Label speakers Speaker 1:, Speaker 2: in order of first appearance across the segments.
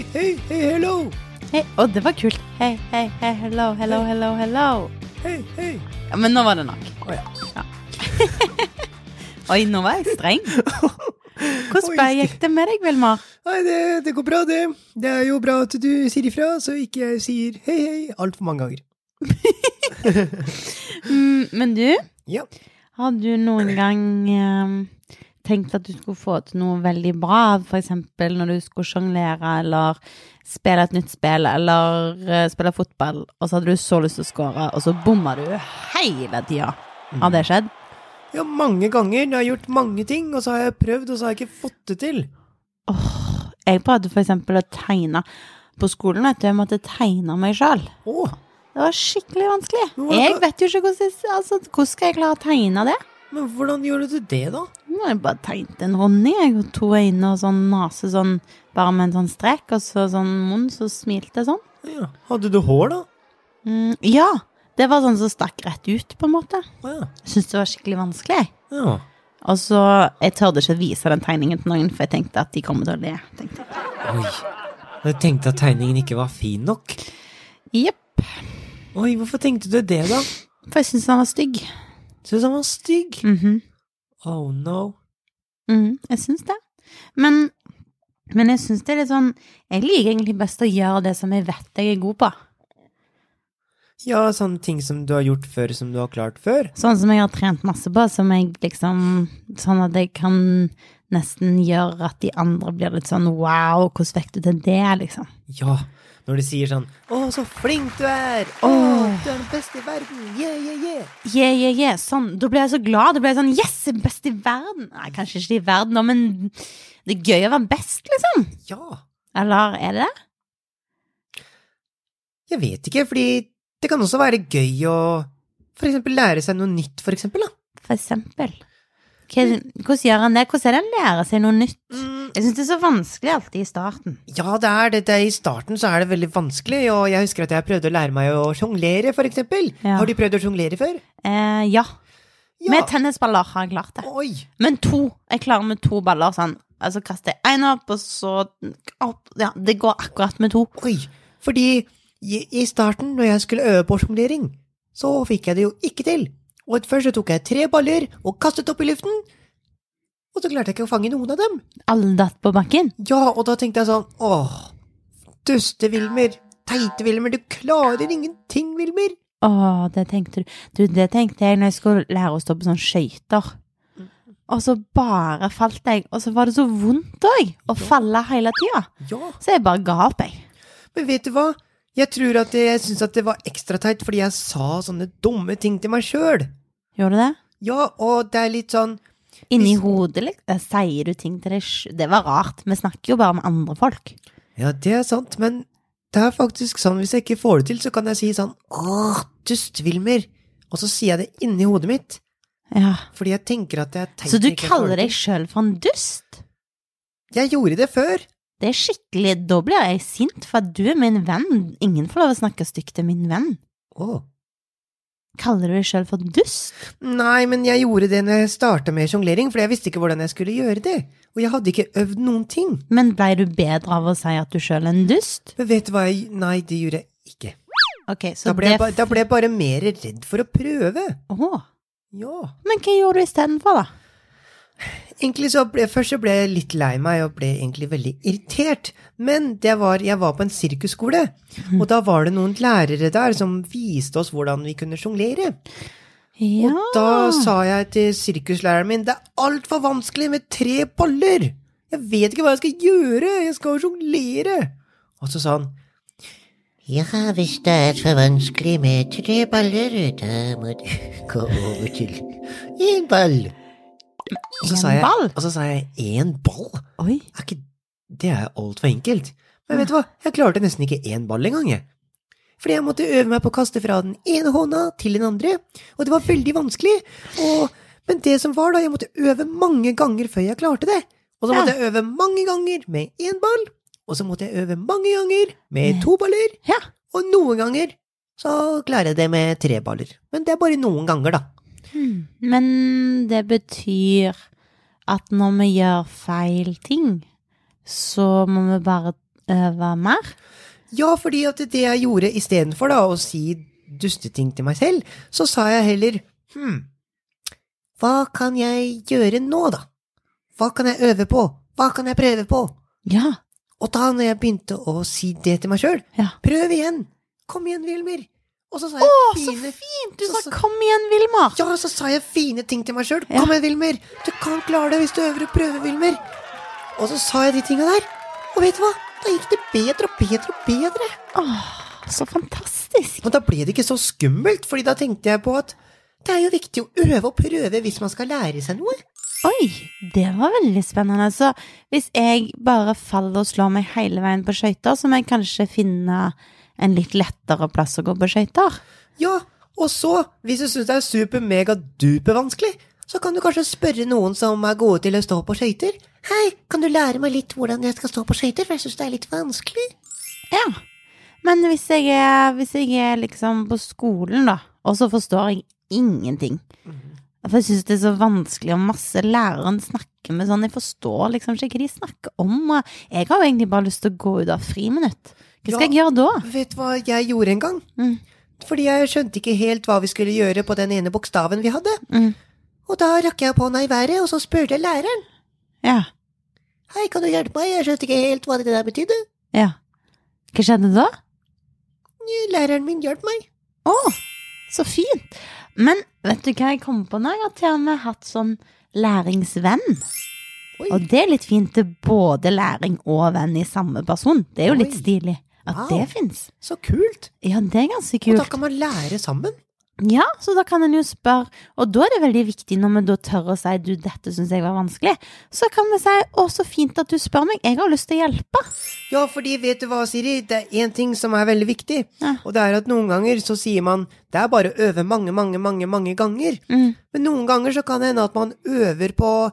Speaker 1: Hei, hello!
Speaker 2: Hei, å, det var kult. Hei, hei, hei, hello, hello, hello, hello.
Speaker 1: Hei, hei.
Speaker 2: Ja, men nå var det nok.
Speaker 1: Å ja.
Speaker 2: Oi, nå var jeg streng. Hvordan ble- gikk det med deg, Vilmar?
Speaker 1: Nei, det, det går bra, det. Det er jo bra at du sier ifra, så ikke jeg sier hei, hei altfor mange ganger.
Speaker 2: Mm, men du,
Speaker 1: Ja.
Speaker 2: har du noen gang eh, tenkt at du skulle få til noe veldig bra, f.eks. når du skulle sjonglere eller spille et nytt spill eller eh, spille fotball, og så hadde du så lyst til å score, og så bomma du hele tida? Har
Speaker 1: Mm.
Speaker 2: det skjedd?
Speaker 1: ja, mange ganger. Jeg har gjort mange ting, og så har jeg prøvd, og så har jeg ikke fått det til.
Speaker 2: Jeg prøvde f.eks. å tegne på skolen, vet du. Jeg måtte tegne meg sjøl.
Speaker 1: Å,
Speaker 2: Det var skikkelig vanskelig.
Speaker 1: Men hvordan-
Speaker 2: Jeg vet jo ikke hvordan, jeg- altså, hvordan skal jeg klare å tegne det.
Speaker 1: men hvordan gjorde du det, da?
Speaker 2: Nå har jeg bare tegnet en Ronny, jeg, og to øyne og sånn nase sånn, bare med en sånn strek, og så sånn munn, så smilte jeg sånn.
Speaker 1: Ja. Hadde du hår, da?
Speaker 2: Mm, ja, det var sånn som stakk rett ut, på en måte.
Speaker 1: Å ja.
Speaker 2: Jeg syntes det var skikkelig vanskelig. jeg.
Speaker 1: ja.
Speaker 2: Og så, jeg tørde ikke vise den tegningen til noen, for jeg tenkte at de kommer til å le. tenkte jeg.
Speaker 1: Oi. Jeg tenkte at tegningen ikke var fin nok.
Speaker 2: Jepp.
Speaker 1: Oi, hvorfor tenkte du det, da?
Speaker 2: For jeg syntes han var stygg.
Speaker 1: Syns han var stygg?
Speaker 2: Mhm,
Speaker 1: Oh no.
Speaker 2: mhm, jeg syns det. Men, men jeg syns det er litt sånn Jeg liker egentlig best å gjøre det som jeg vet jeg er god på.
Speaker 1: Ja, sånne ting som du har gjort før, som du har klart før.
Speaker 2: Sånn som jeg har trent masse på, som jeg liksom Sånn at jeg kan nesten gjøre at de andre blir litt sånn wow, hvordan fikk du til det, liksom?
Speaker 1: Ja, når de sier sånn Å, så flink du er! Å, du er den beste i verden! Yeah, yeah, yeah!
Speaker 2: Yeah, yeah, yeah. Sånn. Da ble jeg så glad. Da ble jeg sånn yes, jeg er best i verden. Nei, kanskje ikke i verden, da, men det er gøy å være best, liksom.
Speaker 1: Ja.
Speaker 2: Eller er det det?
Speaker 1: Jeg vet ikke, fordi det kan også være gøy å for eksempel lære seg noe nytt, for eksempel, da.
Speaker 2: For eksempel. Hva- Hvordan gjør en det? Hvordan er det en lærer seg noe nytt? Jeg syns det er så vanskelig alltid i starten.
Speaker 1: Ja, det er det. det er, I starten så er det veldig vanskelig, og jeg husker at jeg prøvde å lære meg å sjonglere, for eksempel.
Speaker 2: Ja.
Speaker 1: Har du prøvd å sjonglere før?
Speaker 2: Eh, ja.
Speaker 1: Ja.
Speaker 2: Med tennisballer har jeg klart det.
Speaker 1: Oi!
Speaker 2: Men to. Jeg klarer med to baller sånn. Altså kaster jeg én opp, og så opp. Ja, det går akkurat med to.
Speaker 1: Oi! Fordi i i starten, når jeg skulle øve på sjonglering, så fikk jeg det jo ikke til. Og først så tok jeg tre baller og kastet opp i luften, og så klarte jeg ikke å fange noen av dem.
Speaker 2: Alle datt på bakken.
Speaker 1: Ja, og da tenkte jeg sånn Åh, duste Wilmer, teite Wilmer, du klarer ingenting, Wilmer.
Speaker 2: Å, det tenkte du. Du, det tenkte jeg når jeg skulle lære å stå på sånne skøyter. Og så bare falt jeg, og så var det så vondt òg, å falle hele tida.
Speaker 1: Ja,
Speaker 2: Så jeg bare ga opp, jeg.
Speaker 1: men vet du hva? Jeg tror at jeg syns at det var ekstra teit fordi jeg sa sånne dumme ting til meg sjøl.
Speaker 2: Gjorde du det?
Speaker 1: Ja, og det er litt sånn
Speaker 2: Inni
Speaker 1: Hvis-
Speaker 2: hodet, liksom. Eh, Sier du ting til deg sj- Det var rart. Vi snakker jo bare med andre folk.
Speaker 1: Ja, det er sant, men det er faktisk sånn hvis jeg ikke får det til, så kan jeg si sånn Åh, dust Wilmer. Og så sier jeg det inni hodet mitt,
Speaker 2: Ja.
Speaker 1: fordi jeg tenker at jeg tenker
Speaker 2: Så du kaller deg sjøl for en dust?
Speaker 1: Jeg gjorde det før.
Speaker 2: Det er skikkelig, da blir jeg sint, for at du er min venn. Ingen får lov å snakke stygt til min venn.
Speaker 1: Åh.
Speaker 2: Kaller du deg sjøl for dust?
Speaker 1: Nei, men jeg gjorde det når jeg starta med sjonglering, for jeg visste ikke hvordan jeg skulle gjøre det. Og jeg hadde ikke øvd noen ting.
Speaker 2: Men blei du bedre av å si at du sjøl er en dust?
Speaker 1: Men vet du hva jeg Nei, det gjorde jeg ikke.
Speaker 2: Ok, så
Speaker 1: Da ble, jeg,
Speaker 2: det
Speaker 1: ba- da ble jeg bare mer redd for å prøve.
Speaker 2: Åh,
Speaker 1: Ja.
Speaker 2: Men hva gjorde du istedenfor, da?
Speaker 1: Egentlig så ble, Først så ble jeg litt lei meg og ble egentlig veldig irritert. Men det var, jeg var på en sirkusskole, og da var det noen lærere der som viste oss hvordan vi kunne sjonglere.
Speaker 2: Ja, Ah.
Speaker 1: Da sa jeg til sirkuslæreren min det er altfor vanskelig med tre baller. Jeg vet ikke hva jeg skal gjøre, jeg skal jo sjonglere. Og så sa han
Speaker 3: Ja, hvis det er for vanskelig med tre baller, da må du gå over til én ball.
Speaker 1: og så
Speaker 2: En
Speaker 1: sa jeg,
Speaker 2: ball?
Speaker 1: Og så sa jeg én ball?
Speaker 2: Oi.
Speaker 1: Er ikke, det er altfor enkelt. Men vet du hva, jeg klarte nesten ikke én ball engang, jeg. Fordi jeg måtte øve meg på å kaste fra den ene hånda til den andre, og det var veldig vanskelig. Og, men det som var, da, jeg måtte øve mange ganger før jeg klarte det. Og så
Speaker 2: Ja.
Speaker 1: måtte jeg øve mange ganger med én ball, og så måtte jeg øve mange ganger med to baller,
Speaker 2: Ja.
Speaker 1: og noen ganger så klarer jeg det med tre baller. Men det er bare noen ganger, da.
Speaker 2: Hmm. Men det betyr at når vi gjør feil ting, så må vi bare øve mer?
Speaker 1: Ja, fordi at det jeg gjorde istedenfor å si dusteting til meg selv, så sa jeg heller hm, hva kan jeg gjøre nå, da? Hva kan jeg øve på? Hva kan jeg prøve på?
Speaker 2: Ja.
Speaker 1: Og da når jeg begynte å si det til meg sjøl,
Speaker 2: Ja.
Speaker 1: prøv igjen! Kom igjen, Wilmer! Og så sa jeg
Speaker 2: Å, så
Speaker 1: fine
Speaker 2: fint! Du
Speaker 1: så-
Speaker 2: sa
Speaker 1: så-
Speaker 2: 'kom igjen, Vilmar'.
Speaker 1: Ja, så sa jeg fine ting til meg sjøl.
Speaker 2: Ja.
Speaker 1: Kom igjen, Wilmer! Du kan klare det hvis du øver og prøver, Wilmer! Og så sa jeg de tinga der. Og vet du hva? Da gikk det bedre og bedre og bedre.
Speaker 2: Åh, så fantastisk.
Speaker 1: Og da ble det ikke så skummelt, fordi da tenkte jeg på at det er jo viktig å øve og prøve hvis man skal lære seg noe.
Speaker 2: Oi, det var veldig spennende. Så hvis jeg bare faller og slår meg hele veien på skøyter, så må jeg kanskje finne en litt lettere plass å gå på skøyter?
Speaker 1: Ja, og så, hvis du syns det er super-mega-duper-vanskelig, så kan du kanskje spørre noen som er gode til å stå på skøyter. Hei, kan du lære meg litt hvordan jeg skal stå på skøyter, for jeg syns det er litt vanskelig.
Speaker 2: Ja. Men hvis jeg er, hvis jeg er liksom på skolen, da, og så forstår jeg ingenting For jeg syns det er så vanskelig, og masse læreren snakker med sånn Jeg forstår liksom ikke hva de snakker om. og Jeg har jo egentlig bare lyst til å gå ut av friminutt. Hva skal
Speaker 1: Ja.
Speaker 2: jeg gjøre da?
Speaker 1: Vet du hva jeg gjorde en gang?
Speaker 2: Mm.
Speaker 1: Fordi jeg skjønte ikke helt hva vi skulle gjøre på den ene bokstaven vi hadde.
Speaker 2: Mm.
Speaker 1: Og da rakk jeg opp hånda i været, og så spurte jeg læreren.
Speaker 2: Ja.
Speaker 1: Hei, kan du hjelpe meg? Jeg skjønte ikke helt hva det der betydde.
Speaker 2: ja. Hva skjedde da?
Speaker 1: Læreren min hjalp meg.
Speaker 2: Å, så fint. Men vet du hva jeg kom på nå? Jeg har til og med hatt sånn læringsvenn.
Speaker 1: Oi.
Speaker 2: Og det er litt fint til både læring og venn i samme person. Det er jo litt
Speaker 1: Oi.
Speaker 2: stilig at
Speaker 1: Wow.
Speaker 2: det fins.
Speaker 1: Så kult!
Speaker 2: Ja, det er ganske
Speaker 1: Og da
Speaker 2: kult.
Speaker 1: kan man lære sammen.
Speaker 2: Ja, så da kan en jo spørre, og da er det veldig viktig når vi da tør å si du, dette syns jeg var vanskelig, så kan vi si å, så fint at du spør meg, jeg har lyst til å hjelpe.
Speaker 1: Ja, fordi vet du hva, Siri, det er én ting som er veldig viktig,
Speaker 2: Ja.
Speaker 1: og det er at noen ganger så sier man det er bare å øve mange, mange, mange, mange ganger,
Speaker 2: Mm.
Speaker 1: men noen ganger så kan det hende at man øver på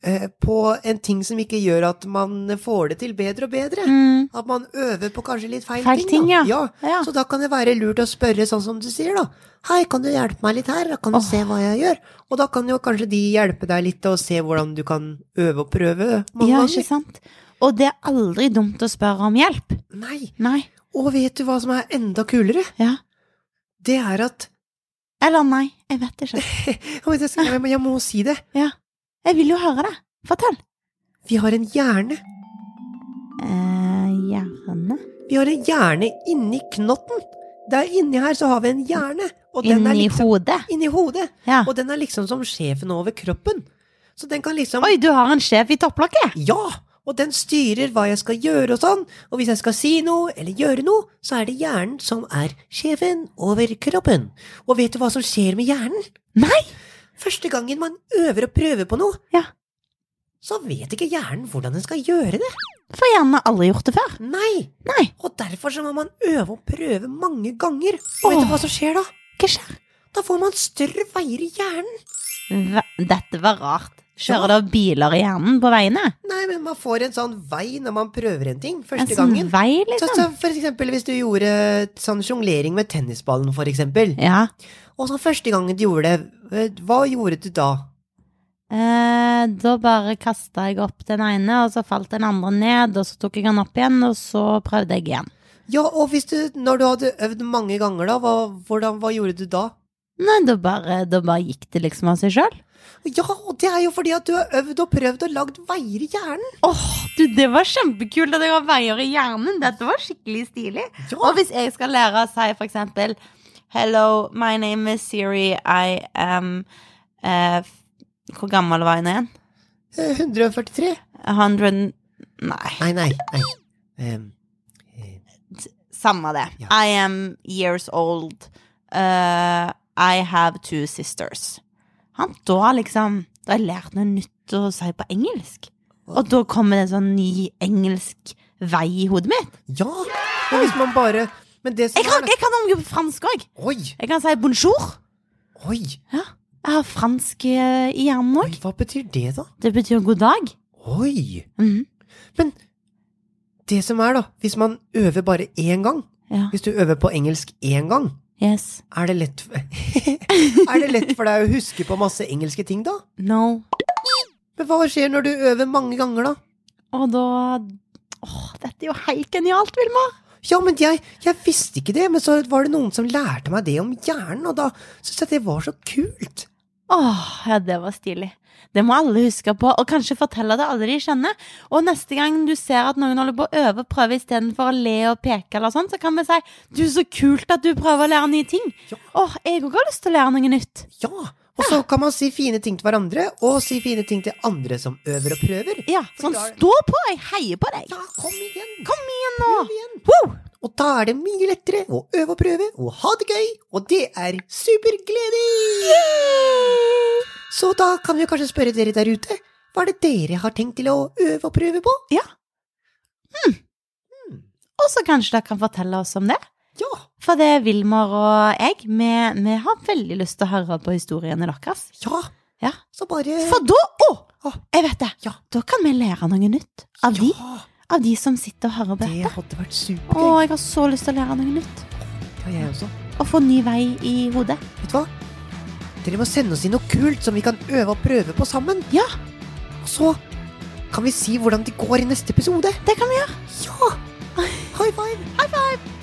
Speaker 1: eh, på en ting som ikke gjør at man får det til bedre og bedre.
Speaker 2: Mm.
Speaker 1: At man øver på kanskje litt feil,
Speaker 2: Feil ting,
Speaker 1: da.
Speaker 2: ja. Ja.
Speaker 1: Så da kan det være lurt å spørre sånn som du sier, da. Hei, kan du hjelpe meg litt her? Da Kan du se hva jeg gjør? Og da kan jo kanskje de hjelpe deg litt og se hvordan du kan øve og prøve mange
Speaker 2: Ja, ikke
Speaker 1: ganger.
Speaker 2: sant? Og det er aldri dumt å spørre om hjelp.
Speaker 1: Nei.
Speaker 2: Nei.
Speaker 1: Og vet du hva som er enda kulere?
Speaker 2: Ja.
Speaker 1: Det er at
Speaker 2: Eller nei, jeg vet ikke.
Speaker 1: Ja, men det skal- Jeg jeg må si det.
Speaker 2: Ja. Jeg vil jo høre det. Fortell.
Speaker 1: Vi har en hjerne.
Speaker 2: Eh, gjerne.
Speaker 1: Vi har en hjerne inni knotten. Der inni her så har vi en hjerne. Og den er
Speaker 2: Inni
Speaker 1: liksom
Speaker 2: hodet.
Speaker 1: Inni hodet.
Speaker 2: Ja.
Speaker 1: Og den er liksom som sjefen over kroppen. Så den kan liksom
Speaker 2: Oi, du har en sjef i topplokket!
Speaker 1: Ja! Og den styrer hva jeg skal gjøre og sånn. Og hvis jeg skal si noe eller gjøre noe, så er det hjernen som er sjefen over kroppen. Og vet du hva som skjer med hjernen?
Speaker 2: Nei!
Speaker 1: Første gangen man øver og prøver på noe,
Speaker 2: Ja.
Speaker 1: så vet ikke hjernen hvordan den skal gjøre det.
Speaker 2: For hjernen har aldri gjort det før.
Speaker 1: Nei!
Speaker 2: Nei.
Speaker 1: Og derfor så må man øve og prøve mange ganger. Og vet du
Speaker 2: Åh.
Speaker 1: hva som skjer da?
Speaker 2: Hva skjer?
Speaker 1: Da får man større veier i hjernen.
Speaker 2: Hva? Dette var rart. Kjører det biler i hjernen på veiene?
Speaker 1: Nei, men man får en sånn vei når man prøver en ting
Speaker 2: En
Speaker 1: første
Speaker 2: sånn
Speaker 1: gangen.
Speaker 2: vei,
Speaker 1: Så,
Speaker 2: liksom?
Speaker 1: så for eksempel hvis du gjorde sånn jonglering med tennisballen, for eksempel.
Speaker 2: Ja.
Speaker 1: Og så første gangen du gjorde det, eh, hva gjorde du da?
Speaker 2: Eh, da bare kasta jeg opp den ene, og så falt den andre ned, og så tok jeg den opp igjen, og så prøvde jeg igjen.
Speaker 1: Ja, og hvis du, når du hadde øvd mange ganger da, hva, hvordan, hva gjorde du da?
Speaker 2: Nei, da bare, da bare gikk det liksom av seg sjøl.
Speaker 1: Ja, og det er jo fordi at du har øvd og prøvd og lagd veier i hjernen.
Speaker 2: Åh, du, det var kjempekult at jeg har veier i hjernen. Dette var skikkelig stilig.
Speaker 1: Ja,
Speaker 2: Og hvis jeg skal lære å si for eksempel Hello, my name is Siri, I am eh, f- Hvor gammel var jeg nå igjen?
Speaker 1: eh, 143.
Speaker 2: 100 Nei,
Speaker 1: Nei, nei, nei. Em,
Speaker 2: samme det.
Speaker 1: Ja.
Speaker 2: I am years old. eh, I have two sisters. Han, da liksom Da har jeg lært noe nytt å si på engelsk. Og da kommer det en sånn ny engelsk vei i hodet mitt.
Speaker 1: ja, men hvis man bare... Men det som
Speaker 2: Jeg kan,
Speaker 1: er-
Speaker 2: jeg kan omgjøre på fransk òg.
Speaker 1: Oi,
Speaker 2: Jeg kan si bonjour.
Speaker 1: oi,
Speaker 2: Ja. Jeg har fransk eh, i hjernen òg.
Speaker 1: hva betyr det da?
Speaker 2: Det betyr god dag.
Speaker 1: Oi,
Speaker 2: Mhm.
Speaker 1: men det som er da, hvis man øver bare én gang,
Speaker 2: Ja.
Speaker 1: hvis du øver på engelsk én gang,
Speaker 2: Yes.
Speaker 1: er det lett Er det lett for deg å huske på masse engelske ting da?
Speaker 2: No.
Speaker 1: Men hva skjer når du øver mange ganger da?
Speaker 2: Og da Åh, dette er jo helt genialt, Vilmar!
Speaker 1: Ja, men jeg, jeg visste ikke det, men så var det noen som lærte meg det om hjernen, og da syntes jeg det var så kult.
Speaker 2: Åh, ja, det var stilig. Det må alle huske på, og kanskje fortelle det alle de kjenner. Og neste gang du ser at noen holder på å øve og prøve istedenfor å le og peke, eller sånn, så kan vi si 'du, så kult at du prøver å lære nye ting'.
Speaker 1: Ja.
Speaker 2: Åh, jeg òg har lyst til å lære noe nytt.
Speaker 1: Ja, og så kan man si fine ting til hverandre, og si fine ting til andre som øver og prøver.
Speaker 2: Ja, sånn stå på, jeg heier på deg.
Speaker 1: Ja, kom igjen!
Speaker 2: Kom igjen nå!
Speaker 1: Prøv igjen!
Speaker 2: Woo!
Speaker 1: Og da er det mye lettere å øve og prøve og ha det gøy, og det er supergledelig! Så da kan vi kanskje spørre dere der ute, hva er det dere har tenkt til å øve og prøve på?
Speaker 2: Ja.
Speaker 1: Hmm.
Speaker 2: Hm. Og så kanskje dere kan fortelle oss om det.
Speaker 1: Ja,
Speaker 2: For det Vilmar og jeg, vi, vi har veldig lyst til å høre på historiene deres.
Speaker 1: ja,
Speaker 2: Ja.
Speaker 1: så bare
Speaker 2: For da Å!
Speaker 1: Å.
Speaker 2: Jeg vet det!
Speaker 1: Ja.
Speaker 2: Da kan vi lære noe nytt av de,
Speaker 1: Ja,
Speaker 2: av de som sitter og hører på.
Speaker 1: det hadde vært
Speaker 2: Å,
Speaker 1: supergøy.
Speaker 2: jeg har så lyst til å lære noe nytt.
Speaker 1: Ja, jeg også.
Speaker 2: Og få ny vei i hodet.
Speaker 1: Vet du hva? Dere må sende oss inn noe kult som vi kan øve og prøve på sammen.
Speaker 2: Ja.
Speaker 1: Og så kan vi si hvordan det går i neste episode.
Speaker 2: Det kan vi gjøre.
Speaker 1: Ja! High five!
Speaker 2: High five!